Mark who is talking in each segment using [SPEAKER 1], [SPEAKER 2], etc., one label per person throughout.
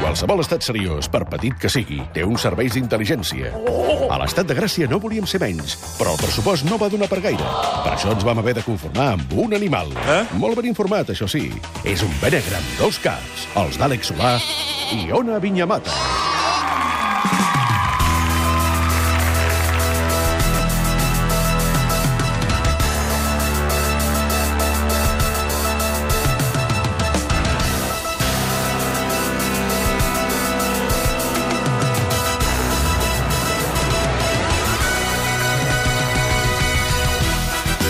[SPEAKER 1] Qualsevol estat seriós, per petit que sigui, té uns serveis d'intel·ligència. A l'estat de Gràcia no volíem ser menys, però el pressupost no va donar per gaire. Per això ens vam haver de conformar amb un animal. Eh? Molt ben informat, això sí. És un benegre amb dos caps, els d'Àlex Solà i Ona Vinyamata.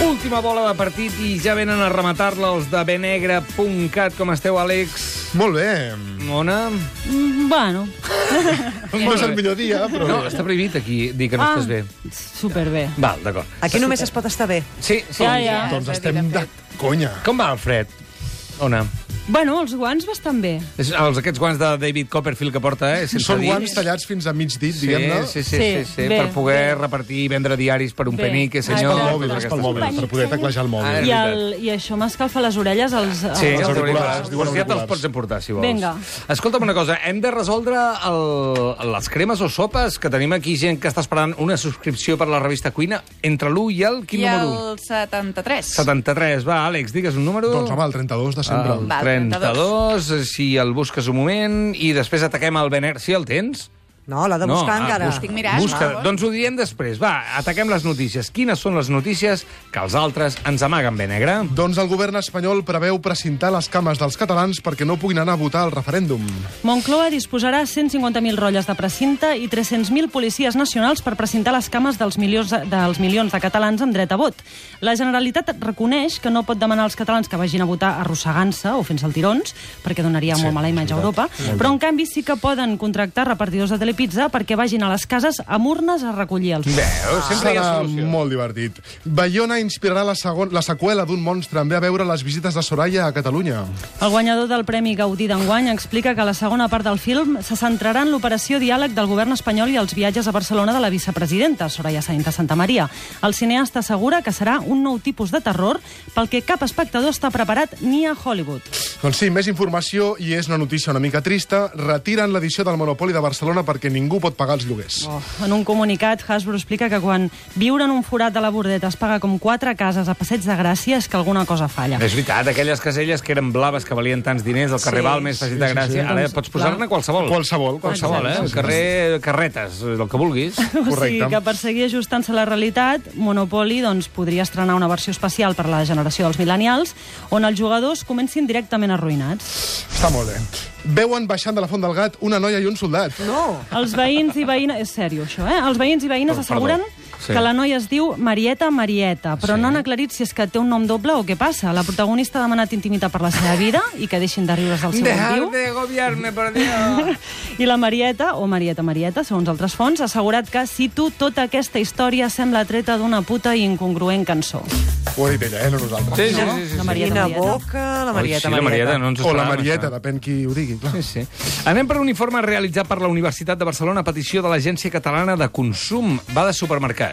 [SPEAKER 2] Última bola de partit i ja venen a rematar-la els de benegre.cat. Com esteu, Àlex?
[SPEAKER 3] Molt bé.
[SPEAKER 2] Mona?
[SPEAKER 4] Mm, Bueno,
[SPEAKER 3] No és el millor dia, però...
[SPEAKER 2] No, està prohibit aquí dir que no
[SPEAKER 4] Ah.
[SPEAKER 2] estàs bé.
[SPEAKER 4] superbé.
[SPEAKER 2] Val, d'acord.
[SPEAKER 5] Aquí només es pot estar bé.
[SPEAKER 2] Sí, Ah, sí.
[SPEAKER 4] Ja, ja.
[SPEAKER 3] Doncs estem de conya.
[SPEAKER 2] Com va el fred? Ona?
[SPEAKER 4] Bueno, els guants bastant bé.
[SPEAKER 2] És, els, aquests guants de David Copperfield que porta, eh? Sense
[SPEAKER 3] Són
[SPEAKER 2] dits.
[SPEAKER 3] guants tallats fins a mig dit,
[SPEAKER 2] Sí,
[SPEAKER 3] diguem-ne.
[SPEAKER 2] sí, sí, sí, sí,
[SPEAKER 4] Sí,
[SPEAKER 2] sí
[SPEAKER 4] bé,
[SPEAKER 2] per poder
[SPEAKER 4] bé.
[SPEAKER 2] repartir i vendre diaris per un
[SPEAKER 4] Bé.
[SPEAKER 2] penique,
[SPEAKER 3] Pel
[SPEAKER 4] Ah,
[SPEAKER 2] senyor. doncs
[SPEAKER 4] clar.
[SPEAKER 3] mòbil, és pel mòbil, per poder teclejar el
[SPEAKER 2] Ah,
[SPEAKER 3] mòbil.
[SPEAKER 4] I,
[SPEAKER 2] veritat.
[SPEAKER 4] el, I això m'escalfa les orelles als...
[SPEAKER 2] Sí,
[SPEAKER 3] els
[SPEAKER 2] els
[SPEAKER 3] auriculars,
[SPEAKER 2] auriculars.
[SPEAKER 3] diuen
[SPEAKER 2] Doncs ja te'ls
[SPEAKER 3] auriculars.
[SPEAKER 2] pots emportar, si vols.
[SPEAKER 4] Vinga.
[SPEAKER 2] Escolta'm una cosa, hem de resoldre el, les cremes o sopes, que tenim aquí gent que està esperant una subscripció per la revista Cuina. Entre l'1 i el... Quin
[SPEAKER 6] I
[SPEAKER 2] número?
[SPEAKER 6] el 73.
[SPEAKER 2] 73. Va, Àlex, digues un número.
[SPEAKER 3] Doncs home, el 32 de desembre.
[SPEAKER 2] El
[SPEAKER 6] Va,
[SPEAKER 2] 32, si el busques un moment, i després ataquem el Bener. Si el tens?
[SPEAKER 5] No, l'ha de buscar encara.
[SPEAKER 6] Estic mirant,
[SPEAKER 2] ah, busca,
[SPEAKER 6] no?
[SPEAKER 2] doncs ho direm després. Va, ataquem les notícies. Quines són les notícies que els altres ens amaguen, bé, negre?
[SPEAKER 3] Doncs el govern espanyol preveu precintar les cames dels catalans perquè no puguin anar a votar al referèndum.
[SPEAKER 4] Moncloa disposarà 150.000 rotlles de precinte i 300.000 policies nacionals per precintar les cames dels milions, dels milions de catalans amb dret a vot. La Generalitat reconeix que no pot demanar als catalans que vagin a votar arrossegant-se o fent saltirons, perquè donaria sí, molt mala imatge a Europa, però en canvi sí que poden contractar repartidors de telepizza perquè vagin a les cases amb urnes a recollir els vots.
[SPEAKER 2] Veus, sempre hi ha
[SPEAKER 3] Serà
[SPEAKER 2] solució.
[SPEAKER 3] molt divertit. Bayona inspirarà la, segon, la seqüela d'un monstre en ve a veure les visites de Soraya a Catalunya.
[SPEAKER 4] El guanyador del Premi Gaudí d'enguany explica que la segona part del film se centrarà en l'operació diàleg del govern espanyol i els viatges a Barcelona de la vicepresidenta, Soraya Sáenz de Santa Maria. El cineasta assegura que serà un nou tipus de terror pel que cap espectador està preparat ni a Hollywood.
[SPEAKER 3] Doncs sí, més informació i és una notícia una mica trista. Retiren l'edició del Monopoli de Barcelona perquè ningú pot pagar els lloguers.
[SPEAKER 4] Oh. En un comunicat, Hasbro explica que quan viure en un forat de la bordeta es paga com quatre cases a Passeig de Gràcia és que alguna cosa falla.
[SPEAKER 2] És veritat, aquelles caselles que eren blaves, que valien tants diners, el carrer sí, Balmes, Passit de Gràcia... Sí, sí. Ara
[SPEAKER 4] Doncs,
[SPEAKER 2] pots posar-ne
[SPEAKER 4] clar.
[SPEAKER 2] qualsevol.
[SPEAKER 3] Qualsevol,
[SPEAKER 2] Qualsevol, eh? El carrer Carretes, el que vulguis.
[SPEAKER 4] O sigui,
[SPEAKER 3] Correcte.
[SPEAKER 4] que per seguir ajustant-se a la realitat, Monopoly doncs, podria estrenar una versió especial per la generació dels mil·lennials, on els jugadors comencin directament arruïnats.
[SPEAKER 3] Està molt bé. Veuen baixant de la Font del Gat una noia i un soldat.
[SPEAKER 5] No.
[SPEAKER 4] Els veïns i veïnes... És sèrio, això, eh? Els veïns i veïnes
[SPEAKER 2] Perdó.
[SPEAKER 4] asseguren
[SPEAKER 2] Sí.
[SPEAKER 4] que la noia es diu Marieta Marieta, però no han aclarit si és que té un nom doble o què passa. La protagonista ha demanat intimitat per la seva vida i que deixin de riure's del seu motiu.
[SPEAKER 2] gobiarme, por Dios.
[SPEAKER 4] I la Marieta, o Marieta Marieta, segons altres fonts, ha assegurat que, cito, tota aquesta història sembla treta d'una puta i incongruent cançó.
[SPEAKER 3] Ho ha dit ella, eh, no nosaltres.
[SPEAKER 2] Sí, sí, sí. sí,
[SPEAKER 4] La
[SPEAKER 2] sí.
[SPEAKER 4] Marieta
[SPEAKER 5] Quina
[SPEAKER 4] Marieta.
[SPEAKER 5] boca, la Marieta,
[SPEAKER 2] Ui, sí, la Marieta, no ens ho
[SPEAKER 3] O la
[SPEAKER 2] esperàvem,
[SPEAKER 3] Marieta,
[SPEAKER 2] això.
[SPEAKER 3] depèn qui ho digui, clar.
[SPEAKER 2] Sí, sí. Anem per un informe realitzat per la Universitat de Barcelona a petició de l'Agència Catalana de Consum. Va de supermercats.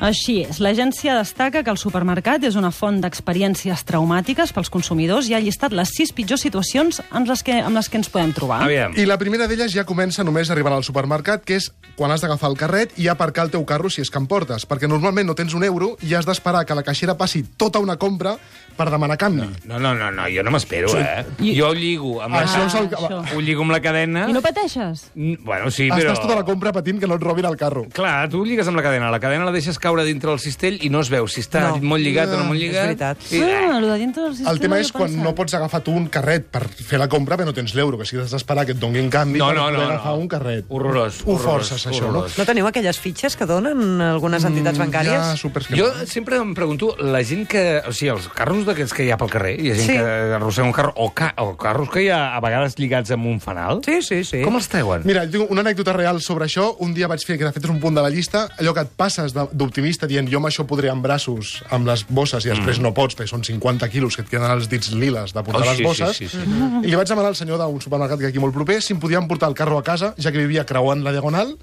[SPEAKER 4] Així és. L'agència destaca que el supermercat és una font d'experiències traumàtiques pels consumidors i ha llistat les sis pitjors situacions amb les que, amb les que ens podem trobar.
[SPEAKER 2] Aviam.
[SPEAKER 3] I la primera d'elles ja comença només arribant al supermercat, que és quan has d'agafar el carret i aparcar el teu carro si és que en portes, perquè normalment no tens un euro i has d'esperar que la caixera passi tota una compra per demanar canvi.
[SPEAKER 2] No, no, no, no jo no m'espero, eh?
[SPEAKER 4] I-
[SPEAKER 2] Jo lligo amb la...
[SPEAKER 3] Això és el...
[SPEAKER 4] això.
[SPEAKER 2] Ho lligo amb la cadena...
[SPEAKER 4] I no pateixes?
[SPEAKER 2] Mm, Bueno, sí, però...
[SPEAKER 3] Estàs tota la compra patint que no et robin el carro.
[SPEAKER 2] Clar, tu lligues amb la cadena, la cadena la deixes caure dintre del cistell i no es veu si està
[SPEAKER 5] No.
[SPEAKER 2] molt lligat o no
[SPEAKER 3] No,
[SPEAKER 2] molt
[SPEAKER 5] és
[SPEAKER 2] lligat.
[SPEAKER 5] veritat.
[SPEAKER 2] I, eh,
[SPEAKER 4] Ah, lo de dintre del sistema
[SPEAKER 3] El tema
[SPEAKER 4] no hi he
[SPEAKER 3] és quan
[SPEAKER 4] pensat.
[SPEAKER 3] no pots agafar tu un carret per fer la compra, però no tens l'euro, que si has d'esperar que et donguin canvi
[SPEAKER 2] No,
[SPEAKER 3] per
[SPEAKER 2] no, no,
[SPEAKER 3] poder
[SPEAKER 2] no.
[SPEAKER 3] agafar un carret.
[SPEAKER 2] Horrorós,
[SPEAKER 3] Ho
[SPEAKER 2] horrorós,
[SPEAKER 3] forces, això,
[SPEAKER 2] horrorós.
[SPEAKER 5] No teniu aquelles fitxes que donen algunes entitats
[SPEAKER 2] Mm,
[SPEAKER 3] no? Ja,
[SPEAKER 5] bancàries?
[SPEAKER 3] super...
[SPEAKER 2] Jo sempre em pregunto, la gent que... O sigui, els carros d'aquests que hi ha pel carrer, hi ha gent
[SPEAKER 5] Sí.
[SPEAKER 2] que arrossega un carro, o, ca, o carros que hi ha a vegades lligats amb un fanal,
[SPEAKER 5] Sí, sí, sí.
[SPEAKER 2] com els treuen?
[SPEAKER 3] Mira, tinc una anècdota real sobre això. Un dia vaig fer, que de fet és un punt de la llista, allò que et passes de- d'optimista dient jo amb això podré amb braços, amb les bosses, i
[SPEAKER 2] Mm.
[SPEAKER 3] després no pots, perquè són 50 quilos que et queden els dits liles de portar
[SPEAKER 2] Oh, sí,
[SPEAKER 3] les
[SPEAKER 2] sí,
[SPEAKER 3] bosses.
[SPEAKER 2] sí, sí.
[SPEAKER 3] I li vaig demanar al senyor d'un supermercat que hi ha aquí molt proper si em podien portar el carro a casa, ja que vivia creuant la Diagonal,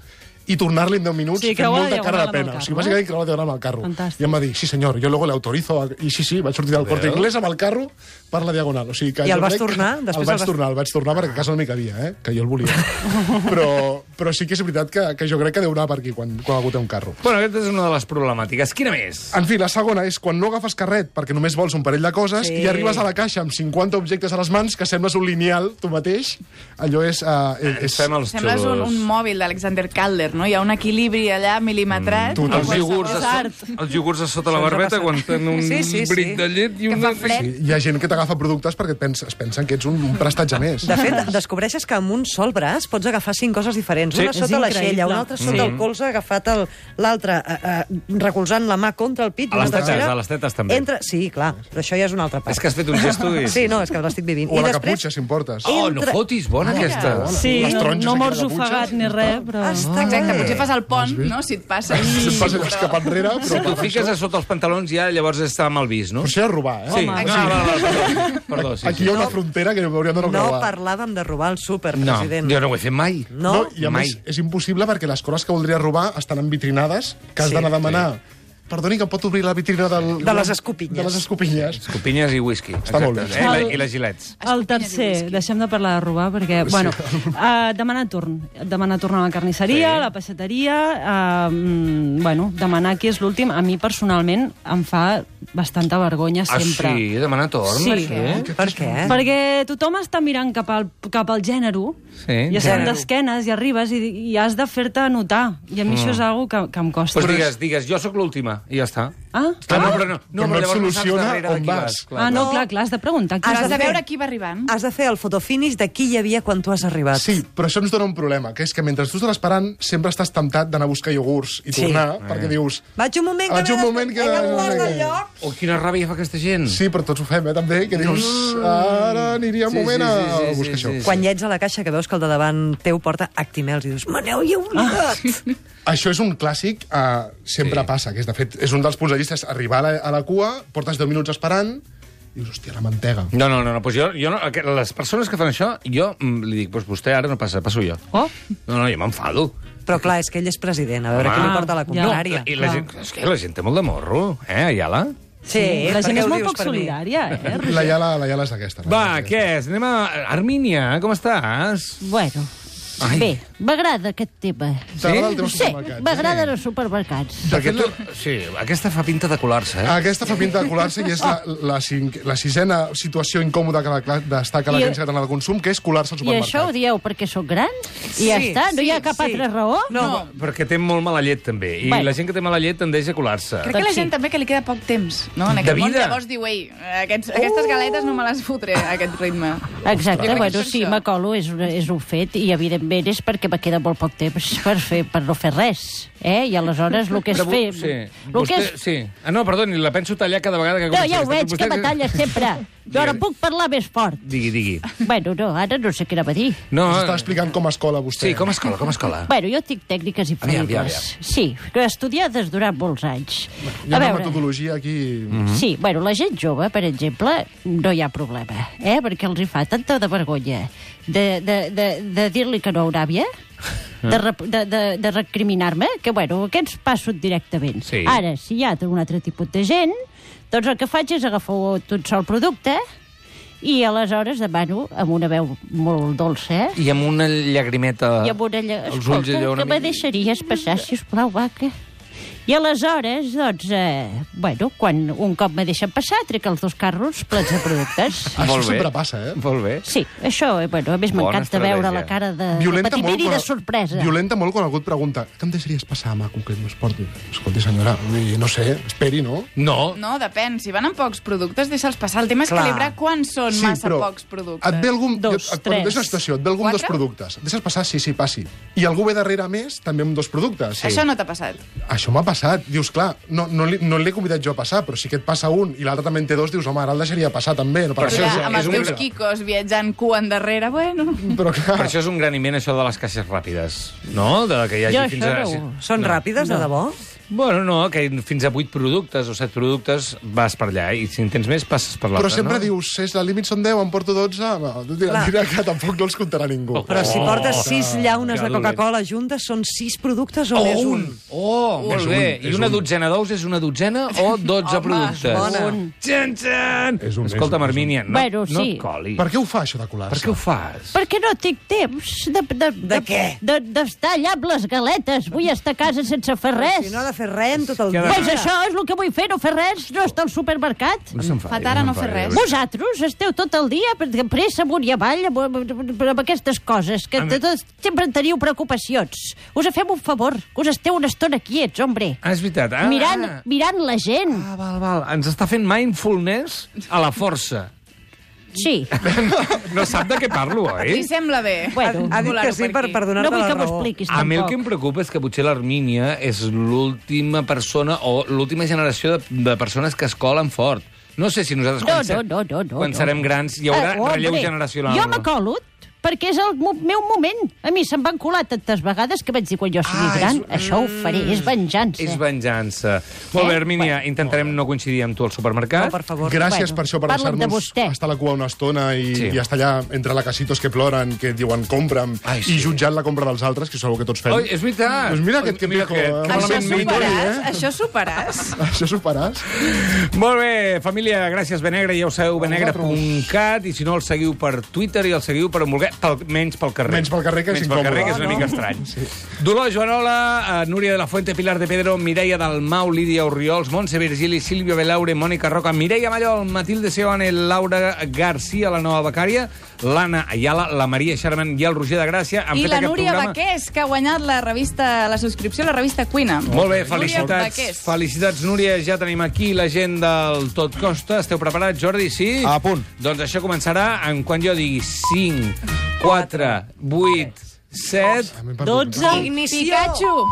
[SPEAKER 3] i tornar-li en 10 minuts
[SPEAKER 4] Sí,
[SPEAKER 3] sí, fent
[SPEAKER 4] creuar la
[SPEAKER 3] molt de cara de
[SPEAKER 4] diagonal amb el
[SPEAKER 3] pena.
[SPEAKER 4] carro,
[SPEAKER 3] O sigui,
[SPEAKER 4] no?
[SPEAKER 3] bàsicament creuar la diagonal amb el carro.
[SPEAKER 4] Fantàstic.
[SPEAKER 3] I em va dir, sí senyor, jo luego l'autorizo. A... I sí, sí, vaig sortir del corte inglès amb el carro per la diagonal. O sigui que
[SPEAKER 5] I
[SPEAKER 3] jo
[SPEAKER 5] el vas
[SPEAKER 3] crec que-
[SPEAKER 5] tornar? Després
[SPEAKER 3] El vaig
[SPEAKER 5] el vas-
[SPEAKER 3] tornar, el vaig tornar perquè a casa no m'hi cabia, eh? que jo el volia. però, però sí que és veritat que, que jo crec que deu anar per aquí quan, quan algú té un carro.
[SPEAKER 2] Bueno, aquesta és una de les problemàtiques. Quina més?
[SPEAKER 3] En fi, la segona és quan no agafes carret perquè només vols un parell de coses
[SPEAKER 5] Sí.
[SPEAKER 3] sí. i arribes a la caixa amb 50 objectes a les mans que sembles un lineal tu mateix. Allò és... Uh, és,
[SPEAKER 2] Fem els
[SPEAKER 6] Sembles un, un mòbil d'Alexander Calder, no? Hi ha un equilibri allà milimetrat.
[SPEAKER 3] Mm,
[SPEAKER 6] Mm,
[SPEAKER 3] total.
[SPEAKER 2] els iogurts, a, so- els iogurts a sota la
[SPEAKER 5] Això ens ha
[SPEAKER 2] barbeta
[SPEAKER 5] passat.
[SPEAKER 2] quan tenen un
[SPEAKER 5] Sí, sí, sí.
[SPEAKER 2] brit de llet i
[SPEAKER 6] Que
[SPEAKER 2] una...
[SPEAKER 6] fa fred.
[SPEAKER 3] Sí, hi ha gent que t'agafa productes perquè et pensa, es pensen que ets un, un prestatge més.
[SPEAKER 5] De fet, descobreixes que amb un sol braç pots agafar cinc coses diferents.
[SPEAKER 2] Sí.
[SPEAKER 5] Una
[SPEAKER 4] És
[SPEAKER 5] sota la
[SPEAKER 4] increïble.
[SPEAKER 5] xella, una altra sota el colze, agafat el- l'altre, eh, eh, recolzant la mà contra el pit.
[SPEAKER 2] A
[SPEAKER 5] i una
[SPEAKER 2] les tetes,
[SPEAKER 5] tercera
[SPEAKER 2] a les tetes també.
[SPEAKER 5] Entre... Sí, clar, però això ja és una altra part.
[SPEAKER 2] És que has fet un gesto i-
[SPEAKER 5] Sí, no, és que l'estic vivint.
[SPEAKER 3] O a la
[SPEAKER 5] després-
[SPEAKER 3] caputxa, si em portes.
[SPEAKER 5] I-
[SPEAKER 2] Oh, no
[SPEAKER 5] Entra-
[SPEAKER 2] fotis, bona aquesta.
[SPEAKER 4] Sí,
[SPEAKER 3] Les
[SPEAKER 4] no,
[SPEAKER 3] taronges
[SPEAKER 4] no
[SPEAKER 3] aquí a
[SPEAKER 4] mors
[SPEAKER 3] la butxa.
[SPEAKER 4] ofegat ni res, però...
[SPEAKER 5] Està
[SPEAKER 6] Exacte,
[SPEAKER 5] bé.
[SPEAKER 6] potser fas el pont, no?, si et passa.
[SPEAKER 3] Si et passa allò cap enrere, però...
[SPEAKER 2] Si t'ho fiques a sota els pantalons ja llavors està mal vist, no?
[SPEAKER 3] Però això és robar, eh?
[SPEAKER 2] Sí.
[SPEAKER 6] Home.
[SPEAKER 2] Ah, va, va, va. Perdó, sí,
[SPEAKER 3] Aquí hi
[SPEAKER 2] sí.
[SPEAKER 3] ha una frontera que hauríem de no
[SPEAKER 5] No
[SPEAKER 3] creuar.
[SPEAKER 5] parlàvem de robar el súper,
[SPEAKER 2] No,
[SPEAKER 5] president.
[SPEAKER 2] jo no ho he fet mai.
[SPEAKER 5] No?
[SPEAKER 3] No, I a
[SPEAKER 2] Mai.
[SPEAKER 3] més, és impossible perquè les coses que voldria robar estan envitrinades, que has
[SPEAKER 5] Sí.
[SPEAKER 3] d'anar a demanar... Perdoni, que em pot obrir la vitrina del...
[SPEAKER 5] De les escopinyes.
[SPEAKER 3] De les escopinyes.
[SPEAKER 2] Copinyes i whisky.
[SPEAKER 3] Està molt bé.
[SPEAKER 2] Eh? I la- I les gilets.
[SPEAKER 4] El tercer, deixem de parlar de robar, perquè, sí. bueno, uh, demanar torn. Demanar torn a la carnisseria, sí. a la peixateria, uh, bueno, demanar qui és l'últim, a mi personalment em fa bastanta vergonya
[SPEAKER 2] Ah,
[SPEAKER 4] sempre.
[SPEAKER 2] sí? Demanar torn?
[SPEAKER 4] Sí.
[SPEAKER 2] Això?
[SPEAKER 5] Per què?
[SPEAKER 4] Perquè tothom està mirant cap al, cap al gènere,
[SPEAKER 2] Sí,
[SPEAKER 4] i estan
[SPEAKER 5] gènere.
[SPEAKER 4] d'esquenes, i arribes, i, i has de fer-te notar. I a mi mm. això és algo que, que em costa.
[SPEAKER 2] Pues Doncs digues, digues, jo sóc l'última, i ja està.
[SPEAKER 4] Ah?
[SPEAKER 2] Ah, no, però no,
[SPEAKER 3] Però no et
[SPEAKER 2] llavors saps
[SPEAKER 3] soluciona
[SPEAKER 2] darrere de
[SPEAKER 3] on
[SPEAKER 2] qui
[SPEAKER 3] vas.
[SPEAKER 2] clar.
[SPEAKER 4] ah, no, clar, clar, has de preguntar. Qui
[SPEAKER 5] Has
[SPEAKER 6] Has
[SPEAKER 4] és.
[SPEAKER 6] de
[SPEAKER 5] fer-
[SPEAKER 6] veure qui va arribant.
[SPEAKER 5] Mm. Has de fer el fotofinish de qui hi havia quan tu has arribat.
[SPEAKER 3] Sí, però això ens dona un problema, que és que mentre tu estàs esperant sempre estàs temptat d'anar a buscar iogurts i
[SPEAKER 5] Sí.
[SPEAKER 3] tornar, perquè dius...
[SPEAKER 5] Vaig un moment que...
[SPEAKER 3] Vaig un
[SPEAKER 5] m'he de-
[SPEAKER 3] moment que...
[SPEAKER 5] He de guardar el lloc.
[SPEAKER 2] Oh, quina ràbia fa aquesta gent.
[SPEAKER 3] Sí, però tots ho fem, eh, també, que dius... Ara aniria
[SPEAKER 2] Sí,
[SPEAKER 3] un
[SPEAKER 2] sí,
[SPEAKER 3] moment a
[SPEAKER 2] sí, sí, sí,
[SPEAKER 3] buscar això.
[SPEAKER 2] sí, sí.
[SPEAKER 5] Quan ja ets a la caixa que veus que el de davant teu porta Actimels i dius, me n'heu ja oblidat. Ah.
[SPEAKER 3] Això és un clàssic, uh, sempre
[SPEAKER 2] Sí.
[SPEAKER 3] sí. passa, que és, de fet, és un dels punts de llista, és arribar a la, a la cua, portes 10 minuts esperant, i dius, hòstia, la mantega.
[SPEAKER 2] No, no, no, no, doncs jo, jo no, aqu- les persones que fan això, jo mm, li dic, doncs vostè ara no passa, passo jo.
[SPEAKER 4] Oh,
[SPEAKER 2] No, no, jo m'enfado.
[SPEAKER 5] Però clar, és que ell és president, a veure
[SPEAKER 2] Ah.
[SPEAKER 5] ah. qui li porta la
[SPEAKER 4] Ja.
[SPEAKER 5] contrària.
[SPEAKER 2] I la
[SPEAKER 4] clar.
[SPEAKER 2] gent, és que la gent té molt de morro, eh, Ayala?
[SPEAKER 5] Sí,
[SPEAKER 4] la
[SPEAKER 5] per
[SPEAKER 4] gent
[SPEAKER 5] què
[SPEAKER 4] és
[SPEAKER 5] ho
[SPEAKER 4] molt
[SPEAKER 5] dius
[SPEAKER 4] poc
[SPEAKER 5] per mi?
[SPEAKER 4] solidària, eh?
[SPEAKER 3] La Yala, la Yala és aquesta. la Yala
[SPEAKER 2] Va,
[SPEAKER 3] és
[SPEAKER 2] què
[SPEAKER 3] aquesta.
[SPEAKER 2] és? Anem a... Armínia, com estàs?
[SPEAKER 7] Bueno,
[SPEAKER 2] Ai.
[SPEAKER 7] Ai. bé, m'agrada aquest tema.
[SPEAKER 3] T'agrada el tema
[SPEAKER 7] Sí,
[SPEAKER 2] eh?
[SPEAKER 3] supermercat?
[SPEAKER 7] m'agraden els supermercats.
[SPEAKER 3] De fet, la-
[SPEAKER 2] Sí, aquesta fa pinta de colar-se, eh?
[SPEAKER 3] Aquesta fa pinta de colar-se i és la, la, cinc, la sisena situació incòmoda que la- destaca
[SPEAKER 7] I-
[SPEAKER 3] l'Agència Catalana del Consum, que és colar-se al
[SPEAKER 7] I això ho
[SPEAKER 3] supermercat.
[SPEAKER 7] dieu perquè sóc gran? I ja
[SPEAKER 5] Sí,
[SPEAKER 7] està? No hi ha
[SPEAKER 5] sí,
[SPEAKER 7] cap
[SPEAKER 5] sí.
[SPEAKER 7] altra raó?
[SPEAKER 5] No,
[SPEAKER 6] No.
[SPEAKER 2] Perquè té molt mala llet, també. I
[SPEAKER 7] Bueno.
[SPEAKER 2] la gent que té mala llet tendeix a colar-se.
[SPEAKER 6] Crec que la
[SPEAKER 7] Doncs sí.
[SPEAKER 6] gent també que li queda poc temps, no? En aquest
[SPEAKER 2] De
[SPEAKER 6] món,
[SPEAKER 2] vida.
[SPEAKER 6] llavors diu, ei, aquests, aquestes galetes no me les fotré, a aquest ritme.
[SPEAKER 7] Exacte,
[SPEAKER 6] Jo crec que
[SPEAKER 7] bueno,
[SPEAKER 6] és
[SPEAKER 7] sí,
[SPEAKER 6] això.
[SPEAKER 7] m'acolo, és, una- és un fet, i evidentment és perquè me queda molt poc temps per, fer, per no fer res, eh? I aleshores el que és
[SPEAKER 2] Però
[SPEAKER 7] fer...
[SPEAKER 2] vo- Sí.
[SPEAKER 7] el
[SPEAKER 2] Vostè,
[SPEAKER 7] que és
[SPEAKER 2] sí. Ah, no, perdoni, la penso tallar cada vegada que...
[SPEAKER 7] No,
[SPEAKER 2] comença
[SPEAKER 7] ja ho
[SPEAKER 2] aquesta-
[SPEAKER 7] veig, que
[SPEAKER 2] Vostè-
[SPEAKER 7] batalles sempre. Jo ara
[SPEAKER 2] Digues.
[SPEAKER 7] puc parlar més fort.
[SPEAKER 2] Digui, digui.
[SPEAKER 7] Bueno, no, ara no sé què anava a dir.
[SPEAKER 2] No,
[SPEAKER 3] Us està explicant com es cola vostè.
[SPEAKER 2] sí, com escola, com escola.
[SPEAKER 7] Bueno, jo tinc tècniques
[SPEAKER 2] aviam,
[SPEAKER 7] infal·libles. Sí, que estudiades durant molts anys.
[SPEAKER 3] Hi ha una metodologia aquí...
[SPEAKER 2] Mm.
[SPEAKER 7] Sí, bueno, la gent jove, per exemple, no hi ha problema, eh? perquè els hi fa tanta de vergonya de, de, de, de dir-li que no a una àvia, de, rep- de, de, de recriminar-me, que bueno, aquests passo directament.
[SPEAKER 2] Sí.
[SPEAKER 7] Ara, si hi ha un altre tipus de gent, doncs el que faig és agafar tot sol producte i aleshores demano amb una veu molt dolça, eh?
[SPEAKER 2] I amb una llagrimeta...
[SPEAKER 7] I amb una lla...
[SPEAKER 2] Ah, Els ulls
[SPEAKER 7] Escolta,
[SPEAKER 2] allò una
[SPEAKER 7] que me
[SPEAKER 2] mica-
[SPEAKER 7] deixaries passar, si us plau, vaca? I aleshores, doncs, eh, bueno, quan un cop me deixen passar, trec els dos carros plens de productes.
[SPEAKER 3] Això
[SPEAKER 2] Molt bé.
[SPEAKER 3] sempre passa, eh?
[SPEAKER 2] Molt bé.
[SPEAKER 7] Sí, això, eh, bueno, a més
[SPEAKER 2] Ah. Bona
[SPEAKER 7] m'encanta veure la
[SPEAKER 2] estratègia.
[SPEAKER 7] cara de, de
[SPEAKER 3] Violenta molt,
[SPEAKER 7] patiment i
[SPEAKER 3] quan-
[SPEAKER 7] Eh, de sorpresa.
[SPEAKER 3] Violenta molt quan algú et pregunta què em deixaries passar, maco, que no es porti? Escolti, senyora, vull dir, no sé, esperi, no?
[SPEAKER 2] No,
[SPEAKER 6] No, depèn. Si van amb pocs productes, deixa'ls passar. El tema és
[SPEAKER 5] Clar.
[SPEAKER 6] calibrar quan són
[SPEAKER 3] Sí,
[SPEAKER 6] massa
[SPEAKER 3] però
[SPEAKER 6] pocs productes.
[SPEAKER 3] Et ve algun...
[SPEAKER 4] Dos,
[SPEAKER 3] et, et plantejo una
[SPEAKER 4] tres,
[SPEAKER 3] situació, et ve algun
[SPEAKER 6] quatre?
[SPEAKER 3] dos productes. Deixes passar, sí, sí, passi. I algú ve darrere més, també amb dos productes.
[SPEAKER 6] Això no t'ha passat.
[SPEAKER 3] Això m'ha passat. Dius, clar, no, no, li- no l'he convidat jo a passar, però sí que et passa un i l'altre també en té dos, dius, home, ara el deixaria passar també. No
[SPEAKER 2] Però
[SPEAKER 3] passa
[SPEAKER 2] això
[SPEAKER 6] Clar,
[SPEAKER 2] és-
[SPEAKER 3] res.
[SPEAKER 6] amb
[SPEAKER 2] és
[SPEAKER 6] els
[SPEAKER 2] un
[SPEAKER 6] teus
[SPEAKER 2] gran-
[SPEAKER 6] quicos viatjant cua endarrere, bueno...
[SPEAKER 3] Però clar,
[SPEAKER 2] Per això és un gran invent, això de les caixes ràpides, no? De que hi hagi
[SPEAKER 7] Jo
[SPEAKER 2] fins
[SPEAKER 7] això
[SPEAKER 2] a...
[SPEAKER 7] no ho-
[SPEAKER 5] Són ràpides, de debò?
[SPEAKER 2] Bueno, no, que fins a 8 productes o 7 productes vas per allà i si en tens més passes per l'altre,
[SPEAKER 3] Però sempre
[SPEAKER 2] no?
[SPEAKER 3] dius, és, el límit són 10, em porto 12... Bueno, dirà,
[SPEAKER 5] Clar.
[SPEAKER 3] dirà que tampoc no els comptarà ningú.
[SPEAKER 5] Però
[SPEAKER 4] Oh.
[SPEAKER 5] si portes sis llaunes
[SPEAKER 2] que
[SPEAKER 5] de Coca-Cola juntes, són sis productes o,
[SPEAKER 2] O
[SPEAKER 5] més
[SPEAKER 2] Oh, un! Oh, molt bé. I una dotzena d'ous és una dotzena o 12
[SPEAKER 6] Home,
[SPEAKER 2] productes?
[SPEAKER 5] bona.
[SPEAKER 2] Txan, txan!
[SPEAKER 3] És un, és
[SPEAKER 2] Escolta'm,
[SPEAKER 3] un, és un.
[SPEAKER 2] Armínia, no,
[SPEAKER 4] Bueno,
[SPEAKER 2] no
[SPEAKER 4] sí.
[SPEAKER 2] et colis.
[SPEAKER 3] Per què ho fa, això de colar-se?
[SPEAKER 2] Per què ho fas?
[SPEAKER 4] Perquè no tinc temps de... De, de,
[SPEAKER 5] què?
[SPEAKER 4] de- D'estar allà amb les galetes. Vull estar a casa sense fer res.
[SPEAKER 5] Si no ha de fer res en tot el
[SPEAKER 2] Que
[SPEAKER 5] dia.
[SPEAKER 2] de-
[SPEAKER 4] Doncs això és el que vull fer, no fer res, no estar al supermercat.
[SPEAKER 2] No se'n fa,
[SPEAKER 6] Fa tara
[SPEAKER 2] se'n
[SPEAKER 6] no
[SPEAKER 2] fa, eh?
[SPEAKER 6] fer
[SPEAKER 2] ja
[SPEAKER 6] res.
[SPEAKER 2] veus.
[SPEAKER 4] Vosaltres esteu tot el dia de pressa amunt i avall amb, amb, amb, amb aquestes coses, que de tot, sempre en teniu preocupacions. Us fem un favor, que us esteu una estona quiets, hombre.
[SPEAKER 2] Ah, és veritat. Ah,
[SPEAKER 4] Mirant,
[SPEAKER 2] ah.
[SPEAKER 4] mirant la gent.
[SPEAKER 2] Ah, val, val. Ens està fent mindfulness a la força.
[SPEAKER 4] Sí.
[SPEAKER 2] No sap de què parlo,
[SPEAKER 6] Li
[SPEAKER 2] oi?
[SPEAKER 6] sembla bé.
[SPEAKER 4] Bueno.
[SPEAKER 5] Ha dit que
[SPEAKER 6] Volar-ho
[SPEAKER 5] sí per,
[SPEAKER 6] aquí.
[SPEAKER 5] per
[SPEAKER 4] No
[SPEAKER 5] donar-te
[SPEAKER 4] vull
[SPEAKER 5] la
[SPEAKER 4] que m'ho
[SPEAKER 5] raó.
[SPEAKER 4] expliquis,
[SPEAKER 2] A mi el que em
[SPEAKER 4] tampoc.
[SPEAKER 2] preocupa és que potser l'Armínia és l'última persona o l'última generació de, de persones que es colen fort. No sé si nosaltres
[SPEAKER 4] No,
[SPEAKER 2] quan, se-
[SPEAKER 4] no, no, no, no,
[SPEAKER 2] quan
[SPEAKER 4] no.
[SPEAKER 2] serem grans hi haurà
[SPEAKER 4] Ah,
[SPEAKER 2] ah,
[SPEAKER 4] hombre,
[SPEAKER 2] relleu generacional.
[SPEAKER 4] Jo me colo perquè és el mo- meu moment. A mi se'm van colar tantes vegades que vaig dir quan jo sigui
[SPEAKER 2] Ah, és-
[SPEAKER 4] gran, això ho faré, és venjança.
[SPEAKER 2] És venjança. Molt
[SPEAKER 4] Eh?
[SPEAKER 2] bé, Armínia, intentarem no coincidir amb tu al supermercat.
[SPEAKER 5] No, per favor.
[SPEAKER 3] Gràcies
[SPEAKER 4] Bueno,
[SPEAKER 3] per això, per
[SPEAKER 4] parla'm de
[SPEAKER 3] deixar-nos
[SPEAKER 4] vostè.
[SPEAKER 3] estar a la cua una estona i,
[SPEAKER 2] Sí.
[SPEAKER 3] sí. i estar allà entre lacacitos que ploren, que diuen compra'm,
[SPEAKER 2] Ai,
[SPEAKER 3] Ai,
[SPEAKER 2] sí.
[SPEAKER 3] sí. i jutjant la compra dels altres, que és una cosa que tots fem.
[SPEAKER 2] Oi, és veritat.
[SPEAKER 3] Doncs mira aquest que
[SPEAKER 2] Mira
[SPEAKER 3] pico.
[SPEAKER 2] aquest,
[SPEAKER 3] eh?
[SPEAKER 2] que
[SPEAKER 6] Això
[SPEAKER 3] Malament no hi doni,
[SPEAKER 6] superàs? Això superàs?
[SPEAKER 3] eh? Això superàs?
[SPEAKER 2] Molt bé, família, gràcies, Benegre. Ja ho sabeu, benegre.cat. I si no, el seguiu per Twitter i el seguiu per on vulgueu, pel, menys pel carrer.
[SPEAKER 3] Menys pel carrer, que és
[SPEAKER 2] menys pel
[SPEAKER 3] incòmode.
[SPEAKER 2] carrer,
[SPEAKER 3] Ah,
[SPEAKER 2] que és una mica estrany. Sí. Dolors Joanola, eh, Núria de la Fuente, Pilar de Pedro, Mireia Dalmau, Lídia Oriols, Montse Virgili, Silvio Belaure, Mònica Roca, Mireia Mallol, Matilde Seone, Laura Garcia, la nova becària, l'Anna Ayala, la Maria Sherman i el Roger de Gràcia. Han
[SPEAKER 6] I
[SPEAKER 2] fet
[SPEAKER 6] la
[SPEAKER 2] aquest
[SPEAKER 6] Núria
[SPEAKER 2] programa.
[SPEAKER 6] Baqués, que ha guanyat la revista, la subscripció a la revista Cuina.
[SPEAKER 2] Molt bé,
[SPEAKER 6] Núria
[SPEAKER 2] felicitats.
[SPEAKER 6] Baqués.
[SPEAKER 2] Felicitats, Núria. Ja tenim aquí la gent del Tot Costa. Esteu preparats, Jordi? Sí?
[SPEAKER 8] A punt.
[SPEAKER 2] Doncs això començarà en quan jo digui 5, 4, 8, 7...
[SPEAKER 3] Hem perdut.
[SPEAKER 9] 12...
[SPEAKER 6] Pikachu!